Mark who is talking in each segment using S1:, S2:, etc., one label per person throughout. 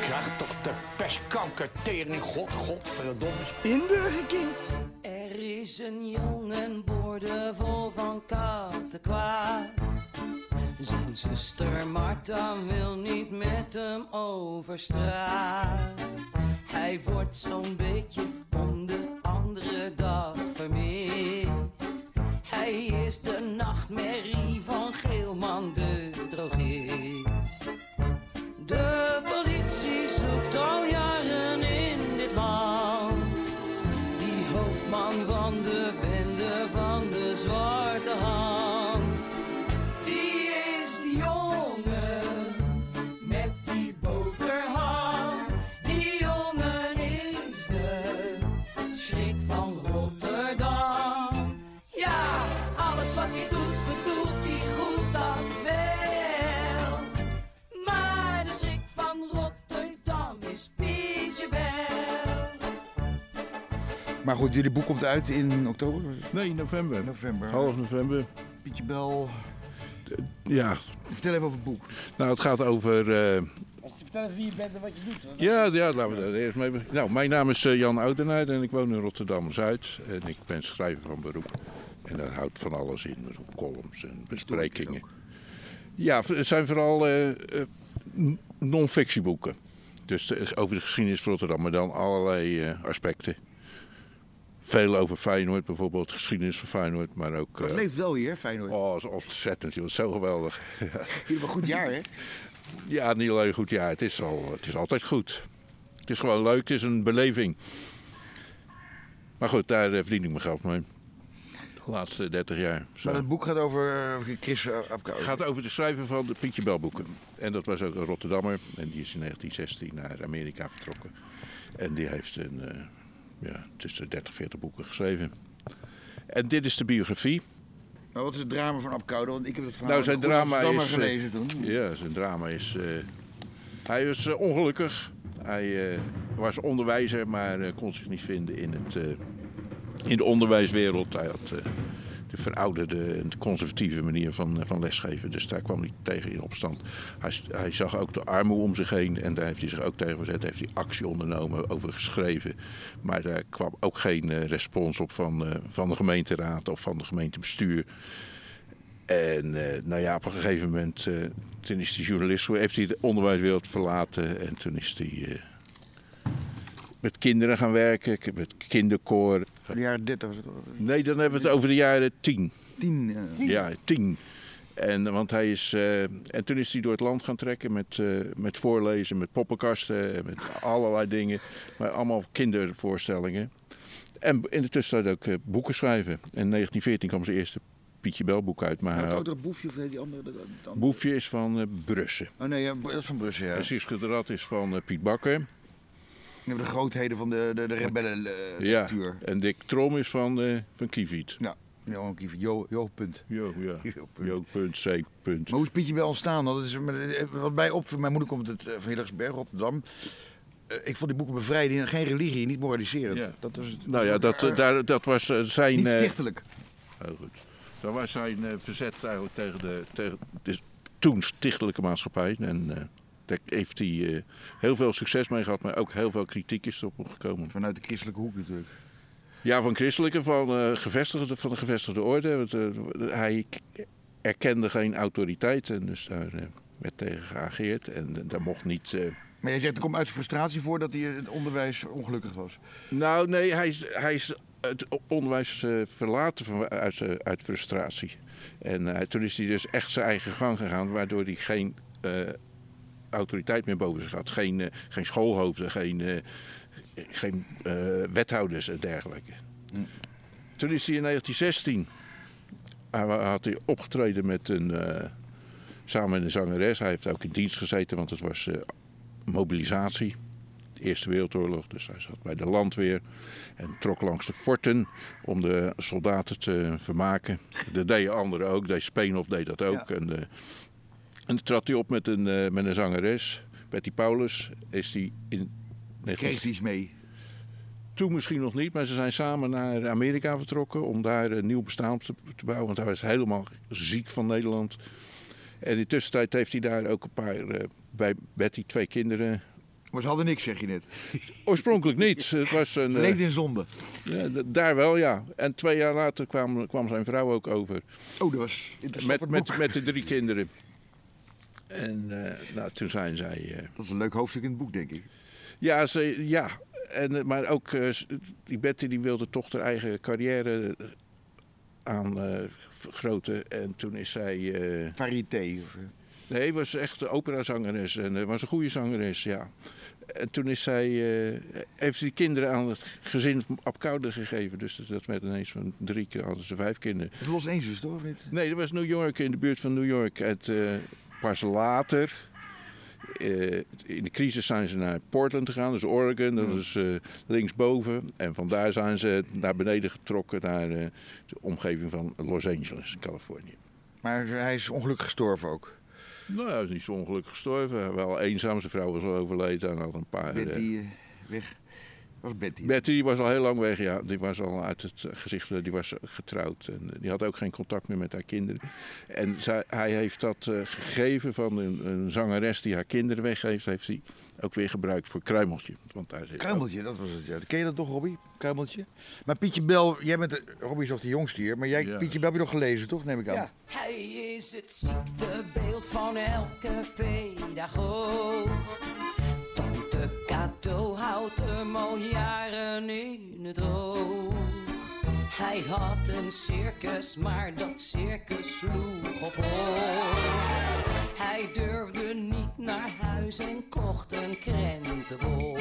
S1: Krijg toch de pestkanker tering, god, godverdomme.
S2: In Burger King.
S3: Er is een jongen boordevol van kattenkwaad. Zijn zuster Marta wil niet met hem over straat. Hij wordt zo'n beetje om de andere dag vermist. Hij is de nachtmerrie van Geelman de drogist. De politie zoekt al jaren in dit land. Die hoofdman van de bende van de zwarte hand. Wie is die jongen met die boterham? Die jongen is de schrik van Rotterdam. Ja, alles wat hij doet bedoelt hij goed dat wel. Maar de schrik van Rotterdam is Pietje Bel.
S4: Maar goed, jullie boek komt uit in oktober,
S5: Nee, november.
S4: november.
S5: Half november.
S4: Pietje Bel.
S5: Ja.
S4: Vertel even over het boek.
S5: Nou, het gaat over... eh,
S4: Vertel even wie je bent en wat je doet.
S5: Ja, ja, laten we daar eerst mee beginnen. Nou, mijn naam is eh, Jan Oudenaard en ik woon in Rotterdam-Zuid. En ik ben schrijver van beroep. En daar houdt van alles in. Dus ook columns en besprekingen. Ja, v- het zijn vooral eh, eh, n- non-fictieboeken. Dus de- over de geschiedenis van Rotterdam, maar dan allerlei eh, aspecten. Veel over Feyenoord, bijvoorbeeld geschiedenis van Feyenoord, maar ook... eh,
S4: Het leeft wel hier, Feyenoord.
S5: Oh, dat is ontzettend, joh. Zo geweldig.
S4: Jullie hebben een goed jaar, hè?
S5: Ja, niet alleen goed. Ja, het is, al, het is altijd goed. Het is gewoon leuk. Het is een beleving. Maar goed, daar eh, verdien ik mijn geld mee. De laatste 30 jaar. Zo.
S4: Maar het boek gaat over eh, Chris Apkouw.
S5: Het gaat over de schrijver van de Pietje Belboeken. En dat was ook een Rotterdammer. En die is in 1916 naar Amerika vertrokken. En die heeft een, eh, ja, tussen 30 40 boeken geschreven. En dit is de biografie.
S4: Maar wat is het drama van Apkouw? Want ik heb het verhaal
S5: Nou, zijn
S4: in de
S5: drama
S4: Goede
S5: is.
S4: Amsterdammer gelezen
S5: eh,
S4: toen.
S5: Ja, zijn drama is. eh, hij is eh, ongelukkig. Hij eh, was onderwijzer, maar eh, kon zich niet vinden in, het, eh, in de onderwijswereld. Hij had eh, de verouderde en conservatieve manier van, eh, van lesgeven. Dus daar kwam hij tegen in opstand. Hij, s- hij zag ook de armoede om zich heen en daar heeft hij zich ook tegen verzet. Daar heeft hij actie ondernomen, over geschreven. Maar daar kwam ook geen eh, respons op van, eh, van de gemeenteraad of van de gemeentebestuur. En eh, nou ja, op een gegeven moment, eh, toen is die journalist, geworden, heeft hij de onderwijswereld verlaten en toen is hij eh, met kinderen gaan werken, k- met kinderkoor.
S4: De jaren 30 was het.
S5: Nee, dan hebben we het over de jaren tien.
S4: 10. eh.
S5: Ja, tien. En, eh, want hij is, eh, en toen is hij door het land gaan trekken met, eh, met voorlezen, met poppenkasten, en met allerlei dingen. Maar allemaal kindervoorstellingen. En in de tussentijd ook eh, boeken schrijven. In 1914 kwam zijn eerste Pietje Bel boek uit. Maar hij
S4: Maar
S5: had-
S4: ook dat boefje of heet die andere? dat- dat andere?
S5: Boefje is van eh Brussen.
S4: Oh nee, ja, dat is van Brussel, ja.
S5: En Siske de Rat is van eh, Piet Bakker.
S4: Die hebben de grootheden van de, de, de rebellencultuur.
S5: Ja. En Dick Trom is van, eh van Kieviet.
S4: Nou, Johan Kiefer, Jo, Jo, punt.
S5: Jo, ja.
S4: Jo, punt.
S5: Jo, punt, C, punt.
S4: Maar hoe is Pietje Bel ontstaan? Dat is, eh, wat mij opviel, mijn moeder komt uit eh, van Hillersberg, Rotterdam. Eh, Ik vond die boeken bevrijding, geen religie, niet moraliserend.
S5: Ja.
S4: Dat was, het-
S5: Nou ja, dat, eh, daar, dat was eh, zijn...
S4: niet
S5: eh,
S4: stichtelijk.
S5: heel goed. Dat was zijn eh, verzet eigenlijk tegen de, tegen de toen stichtelijke maatschappij. En eh, daar heeft hij eh, heel veel succes mee gehad, maar ook heel veel kritiek is erop gekomen.
S4: Vanuit de christelijke hoek natuurlijk.
S5: Ja, van christelijke, van, eh, gevestigde, van de gevestigde orde. Want, eh, hij k- erkende geen autoriteit en dus daar eh, werd tegen geageerd. En eh, daar mocht niet... eh,
S4: Maar jij zegt, er komt uit frustratie voor dat hij in het onderwijs ongelukkig was.
S5: Nou, nee, hij is, hij is het onderwijs eh, verlaten van, uit, eh, uit frustratie. En eh, toen is hij dus echt zijn eigen gang gegaan, waardoor hij geen eh, autoriteit meer boven zich had. Geen, eh, geen schoolhoofden, geen, eh, geen eh, wethouders en dergelijke.
S4: Hm.
S5: Toen is hij in 1916 hij wa- had hij opgetreden met een. eh, samen met een zangeres. Hij heeft ook in dienst gezeten, want het was eh, mobilisatie. De Eerste Wereldoorlog, dus hij zat bij de landweer en trok langs de forten om de soldaten te vermaken. Dat deden anderen ook, deed Speenhof deed dat ook. En, eh, en toen trad hij op met een, eh, met een zangeres, Betty Paulus. Is die in
S4: Kreeg
S5: 19...
S4: hij iets mee.
S5: Toen misschien nog niet, maar ze zijn samen naar Amerika vertrokken om daar een nieuw bestaan op te, te bouwen. Want hij was helemaal ziek van Nederland. En in de tussentijd heeft hij daar ook een paar, eh, bij Betty twee kinderen.
S4: Maar ze hadden niks, zeg je net.
S5: Oorspronkelijk niet. Het was een, eh,
S4: Leefde in zonde.
S5: ja, d- daar wel, ja. En twee jaar later kwam, kwam zijn vrouw ook over.
S4: Oh, dat was interessant. voor
S5: Met,
S4: het
S5: met,
S4: boek.
S5: met de drie kinderen. En eh, nou, toen zijn zij. eh,
S4: Dat is een leuk hoofdstuk in het boek, denk ik.
S5: ja, ze, ja. En, eh, maar ook eh, s- die Betty die wilde toch haar eigen carrière eh, aan eh, vergroten. En toen is zij. eh,
S4: Varieté. Of, eh,
S5: Nee, was echt een operazangeres en eh, was een goede zangeres, ja. En toen is zij, eh, heeft ze die kinderen aan het gezin op koude gegeven. Dus dat- dat werd ineens van drie keer, hadden ze vijf kinderen.
S4: het Los Angeles, toch? Met-
S5: Nee, dat was New York, in de buurt van New York. Het, eh, pas later, eh, in de crisis zijn ze naar Portland gegaan, dus Oregon, dat is eh, linksboven. En vandaar zijn ze naar beneden getrokken, naar eh, de omgeving van Los Angeles, Californië.
S4: Maar hij is ongelukkig gestorven ook.
S5: Nou, hij is niet zo ongelukkig gestorven. Wel eenzaam, zijn vrouw was al overleden en had een paar... eh,
S4: Betty eh, weg. was Betty.
S5: Betty die was al heel lang weg, ja. Die was al uit het eh, gezicht, eh, die was getrouwd. En eh, die had ook geen contact meer met haar kinderen. En zij, hij heeft dat eh, gegeven van een, een zangeres die haar kinderen weggeeft... heeft hij ook weer gebruikt voor Kruimeltje. Want daar zit ook-
S4: Kruimeltje, dat was het. Ja. Ken je dat toch, Robbie? Kruimeltje. Maar Pietje Bel, jij bent... de- Robbie is nog de jongste hier. Maar jij,
S5: Ja.
S4: Pietje Bel heb je nog gelezen, toch? Neem ik aan.
S3: Ja. Hij is het ziektebeeld van elke pedagoog. Tante Kato houdt hem al jaren in het oog. Hij had een circus, maar dat circus sloeg op hol. Hij durfde niet naar huis en kocht een krentenbol.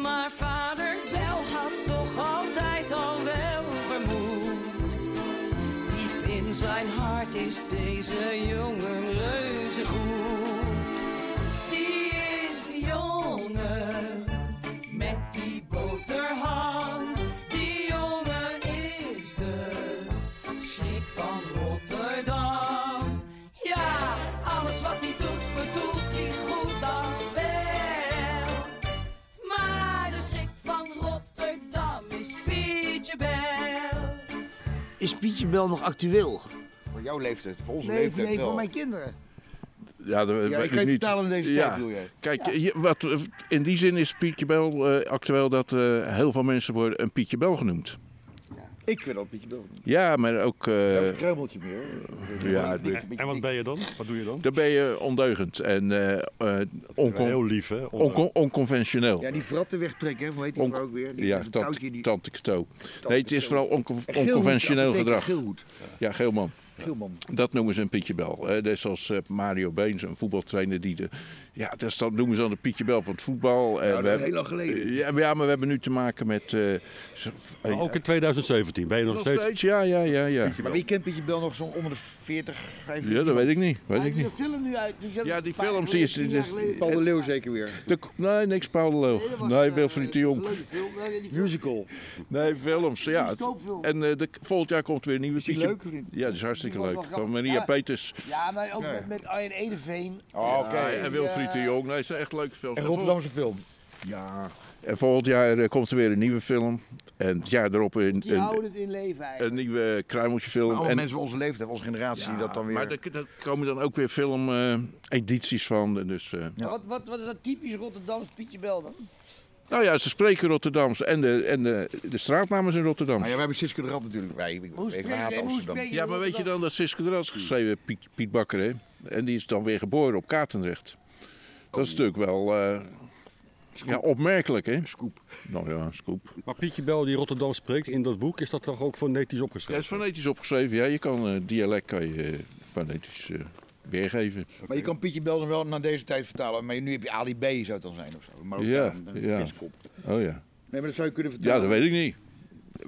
S3: Maar vader Bel had toch altijd al wel vermoed. Diep in zijn hart is deze jongen reuze goed. Die is die jongen met die boterham. Die jongen is de schrik van Rotterdam. Ja, alles wat hij doet, bedoelt hij goed dan wel. Maar de schrik van Rotterdam is Pietje Bel.
S2: Is Pietje Bel nog actueel?
S4: Voor jouw leeftijd, voor onze
S2: Nee,
S4: leeftijd
S2: nee,
S4: wel.
S2: voor mijn kinderen.
S5: Ja, dat weet
S4: ik kan het vertalen in deze tijd, bedoel jij?
S5: Kijk, hier- wat, eh, in die zin is Pietje Bel eh, actueel dat eh, heel veel mensen worden een Pietje Bel genoemd.
S4: Ik wil al Pietje Bel.
S5: Ja, maar ook... eh,
S4: Ja, een kruimeltje meer.
S5: ja,
S4: Een beetje-
S1: En wat ben je dan? Wat doe je dan?
S5: Dan ben je ondeugend en eh, eh, oncon-
S1: Heel lief, hè?
S5: onco- onconventioneel.
S4: Ja, die fratten wegtrekken, hè? hoe heet die
S5: Onc-
S4: vrouw ook weer? Die
S5: ja,
S4: met een
S5: tant-
S4: touwtje die-
S5: tante Kto. Nee, het is
S4: Kto.
S5: vooral onco-
S4: En Geelhoed,
S5: onconventioneel
S4: apotheker
S5: gedrag.
S4: Geelhoed.
S5: Ja, Geelman.
S4: Geelman.
S5: Dat noemen ze een Pietje Bel. Eh, net zoals eh, Mario Beens, een voetbaltrainer die de... Ja, dat is dan- noemen ze dan de Pietje Bel van het voetbal. Eh,
S4: dat
S5: we
S4: is
S5: hebben- Eh,
S4: heel lang geleden.
S5: Ja, maar- ja, maar we hebben nu te maken met... eh, z- eh,
S1: Ook in 2017 ben je nog
S5: nog
S1: Oh, steeds...
S5: steeds? Ja, ja, ja, ja.
S4: Maar wie kent Pietje Bel nog zo'n onder de 40, 50?
S5: Ja, dat weet ik niet. Weet
S2: Hij
S5: ik
S2: is
S5: niet.
S2: een film nu uit. Die
S5: Ja, die films, die is- die is-
S4: Paul de Leeuw zeker weer.
S5: De- nee, niks Paul de Leeuw.
S2: eh,
S5: Nee, Wilfried de Jong.
S4: Musical.
S5: Nee, films, ja. Het-
S2: koopfilm.
S5: En eh, de, volgend jaar komt weer een nieuwe
S4: die
S5: Pietje.
S4: leuk of niet?
S5: Ja, dat is hartstikke
S2: Die was
S5: leuk.
S2: wel
S5: Van
S2: grappig.
S5: Maria
S2: Ja.
S5: Peters
S2: Ja, maar ook met, met Arjen Edeveen.
S4: Oh, oké.
S5: eh, en Wilfried de Jong. Nee, het zijn echt leuke films.
S4: En Rotterdamse film.
S5: Ja. En volgend jaar eh, komt er weer een nieuwe film. En het jaar erop een,
S2: Die houden
S5: een,
S2: het in leven eigenlijk.
S5: een nieuwe Kruimeltje film.
S4: Alle
S5: en,
S4: mensen van onze leeftijd, onze generatie, die dat dan weer...
S5: Maar er, er komen dan ook weer filmedities van. En Dus, eh,
S2: Wat, wat, wat is dat typisch Rotterdams Pietje Bel dan?
S5: Nou ja, ze spreken Rotterdams. En de, en de, de straatnamen zijn Rotterdams.
S4: Maar Ah, ja, we hebben Siske de Rat natuurlijk. Wij, ik,
S2: Hoe
S4: ik
S2: spreek
S4: haat
S2: je- hoe
S4: Amsterdam.
S2: spreek je
S5: Ja, maar weet je
S2: Rotterdam?
S5: dan dat Siske de Rat is geschreven, Piet, Piet Bakker, hè? En die is dan weer geboren op Katendrecht.
S4: Oh,
S5: Dat is natuurlijk wel eh, ja, opmerkelijk, hè?
S4: Scoop.
S5: Nou ja, scoop.
S1: Maar Pietje Bel die Rotterdam spreekt in dat boek, is dat toch ook fonetisch
S5: Dat is
S1: opgeschreven?
S5: fonetisch opgeschreven, ja. Je kan eh, dialect kan je eh, fonetisch eh, weergeven.
S4: Maar je kan Pietje Bel dan wel naar deze tijd vertalen. Maar nu heb je Ali B, zou het dan zijn of zo. Maar ook
S5: Ja,
S4: dan, een
S5: ja.
S4: piskop.
S5: Oh ja.
S4: Nee, maar dat zou je kunnen vertellen.
S5: Ja, dat weet ik niet.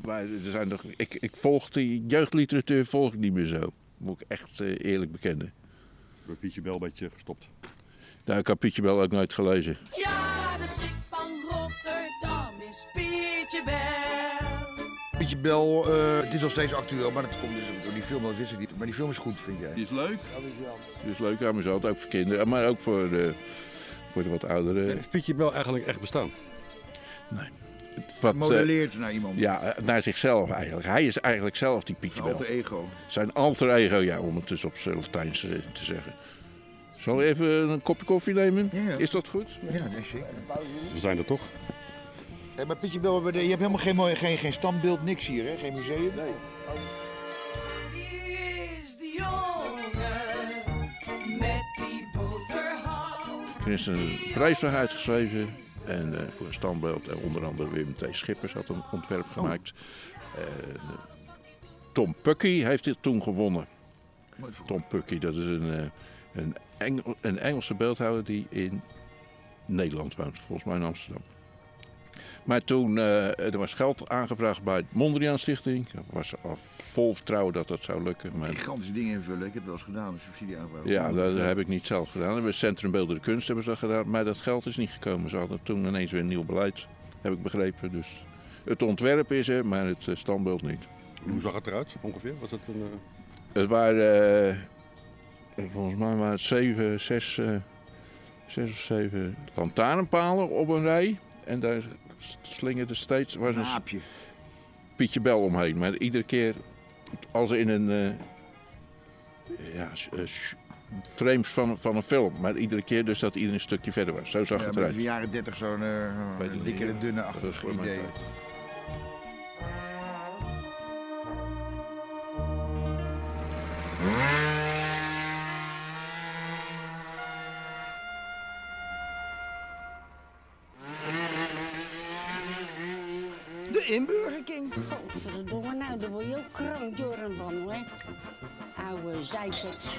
S5: Maar er zijn nog, ik, ik volg die jeugdliteratuur volg ik niet meer zo. Moet ik echt eh, eerlijk bekennen.
S1: Bij Pietje Bel een beetje gestopt.
S5: Nou, ik heb Pietje Bel ook nooit gelezen.
S3: Ja, de schrik van Rotterdam is Pietje Bel.
S4: Pietje Bel, eh, het is nog steeds actueel, maar dat komt dus door die film, dat wist ik niet. Maar die film is goed, vind jij.
S5: Die is leuk. Die is leuk, amusant. Ook voor kinderen, maar ook voor de, voor de wat ouderen.
S1: Heeft Pietje Bel eigenlijk echt bestaan?
S5: wat, eh,
S4: Modelleert naar iemand.
S5: ja, eh, naar zichzelf eigenlijk. Hij is eigenlijk zelf die Pietje Bel.
S4: Alter ego.
S5: Zijn alter ego, ja, om het dus op zijn Latijns eh, te zeggen. Zal we even een kopje koffie nemen?
S4: Ja, ja.
S5: Is dat goed?
S4: Ja, nee, zeker.
S1: We zijn er toch?
S4: Hey, maar Pietje Bel, je hebt helemaal geen, mooi- geen, geen standbeeld, niks hier, hè? Geen museum? Nee.
S3: Is die jongen met die boterham.
S5: Er is een prijs voor uitgeschreven. En eh, voor een standbeeld. En onder andere Wim T. Schippers had een
S4: Oh.
S5: ontwerp gemaakt. En, eh, Tom Pucky heeft dit toen gewonnen.
S4: Mooi voor-
S5: Tom Pucky, dat is een, eh, een, Engel- een Engelse beeldhouwer die in Nederland woont. Volgens mij in Amsterdam. Maar toen eh, er was geld aangevraagd bij de Mondriaan Stichting. Ik was al vol vertrouwen dat dat zou lukken. Maar
S4: Gigantische dingen invullen. Ik heb wel eens gedaan, een subsidieaanvraag.
S5: ja, dat heb ik niet zelf gedaan. Hebben we Centrum Beeldende Kunst hebben ze dat gedaan. Maar dat geld is niet gekomen. Ze hadden toen ineens weer een nieuw beleid, heb ik begrepen. Dus het ontwerp is er, maar het eh, standbeeld niet.
S1: Hoe zag het eruit ongeveer? Was het een, eh,
S5: Het waren, eh, volgens mij waren het zeven, zes, eh, zes of zeven lantaarnpalen op een rij. En daar slingerde steeds, was
S4: Een
S5: een
S4: aapje.
S5: Pietje Bel omheen. Maar iedere keer als in een. eh, ja, s- eh, s- frames van, van een film. Maar iedere keer dus dat iedereen een stukje verder was. Zo zag
S4: Ja, maar
S5: het
S4: in
S5: eruit.
S4: de jaren 30 zo'n eh,
S5: Weet ik niet,
S4: dikkere,
S5: ja.
S4: dunne
S5: Dat was
S4: achtig
S5: voor mijn
S4: idee.
S5: tijd.
S2: De inburgerking.
S6: Godverdomme, nou, daar word je ook krankjoren van, hoor. Oude zeikert.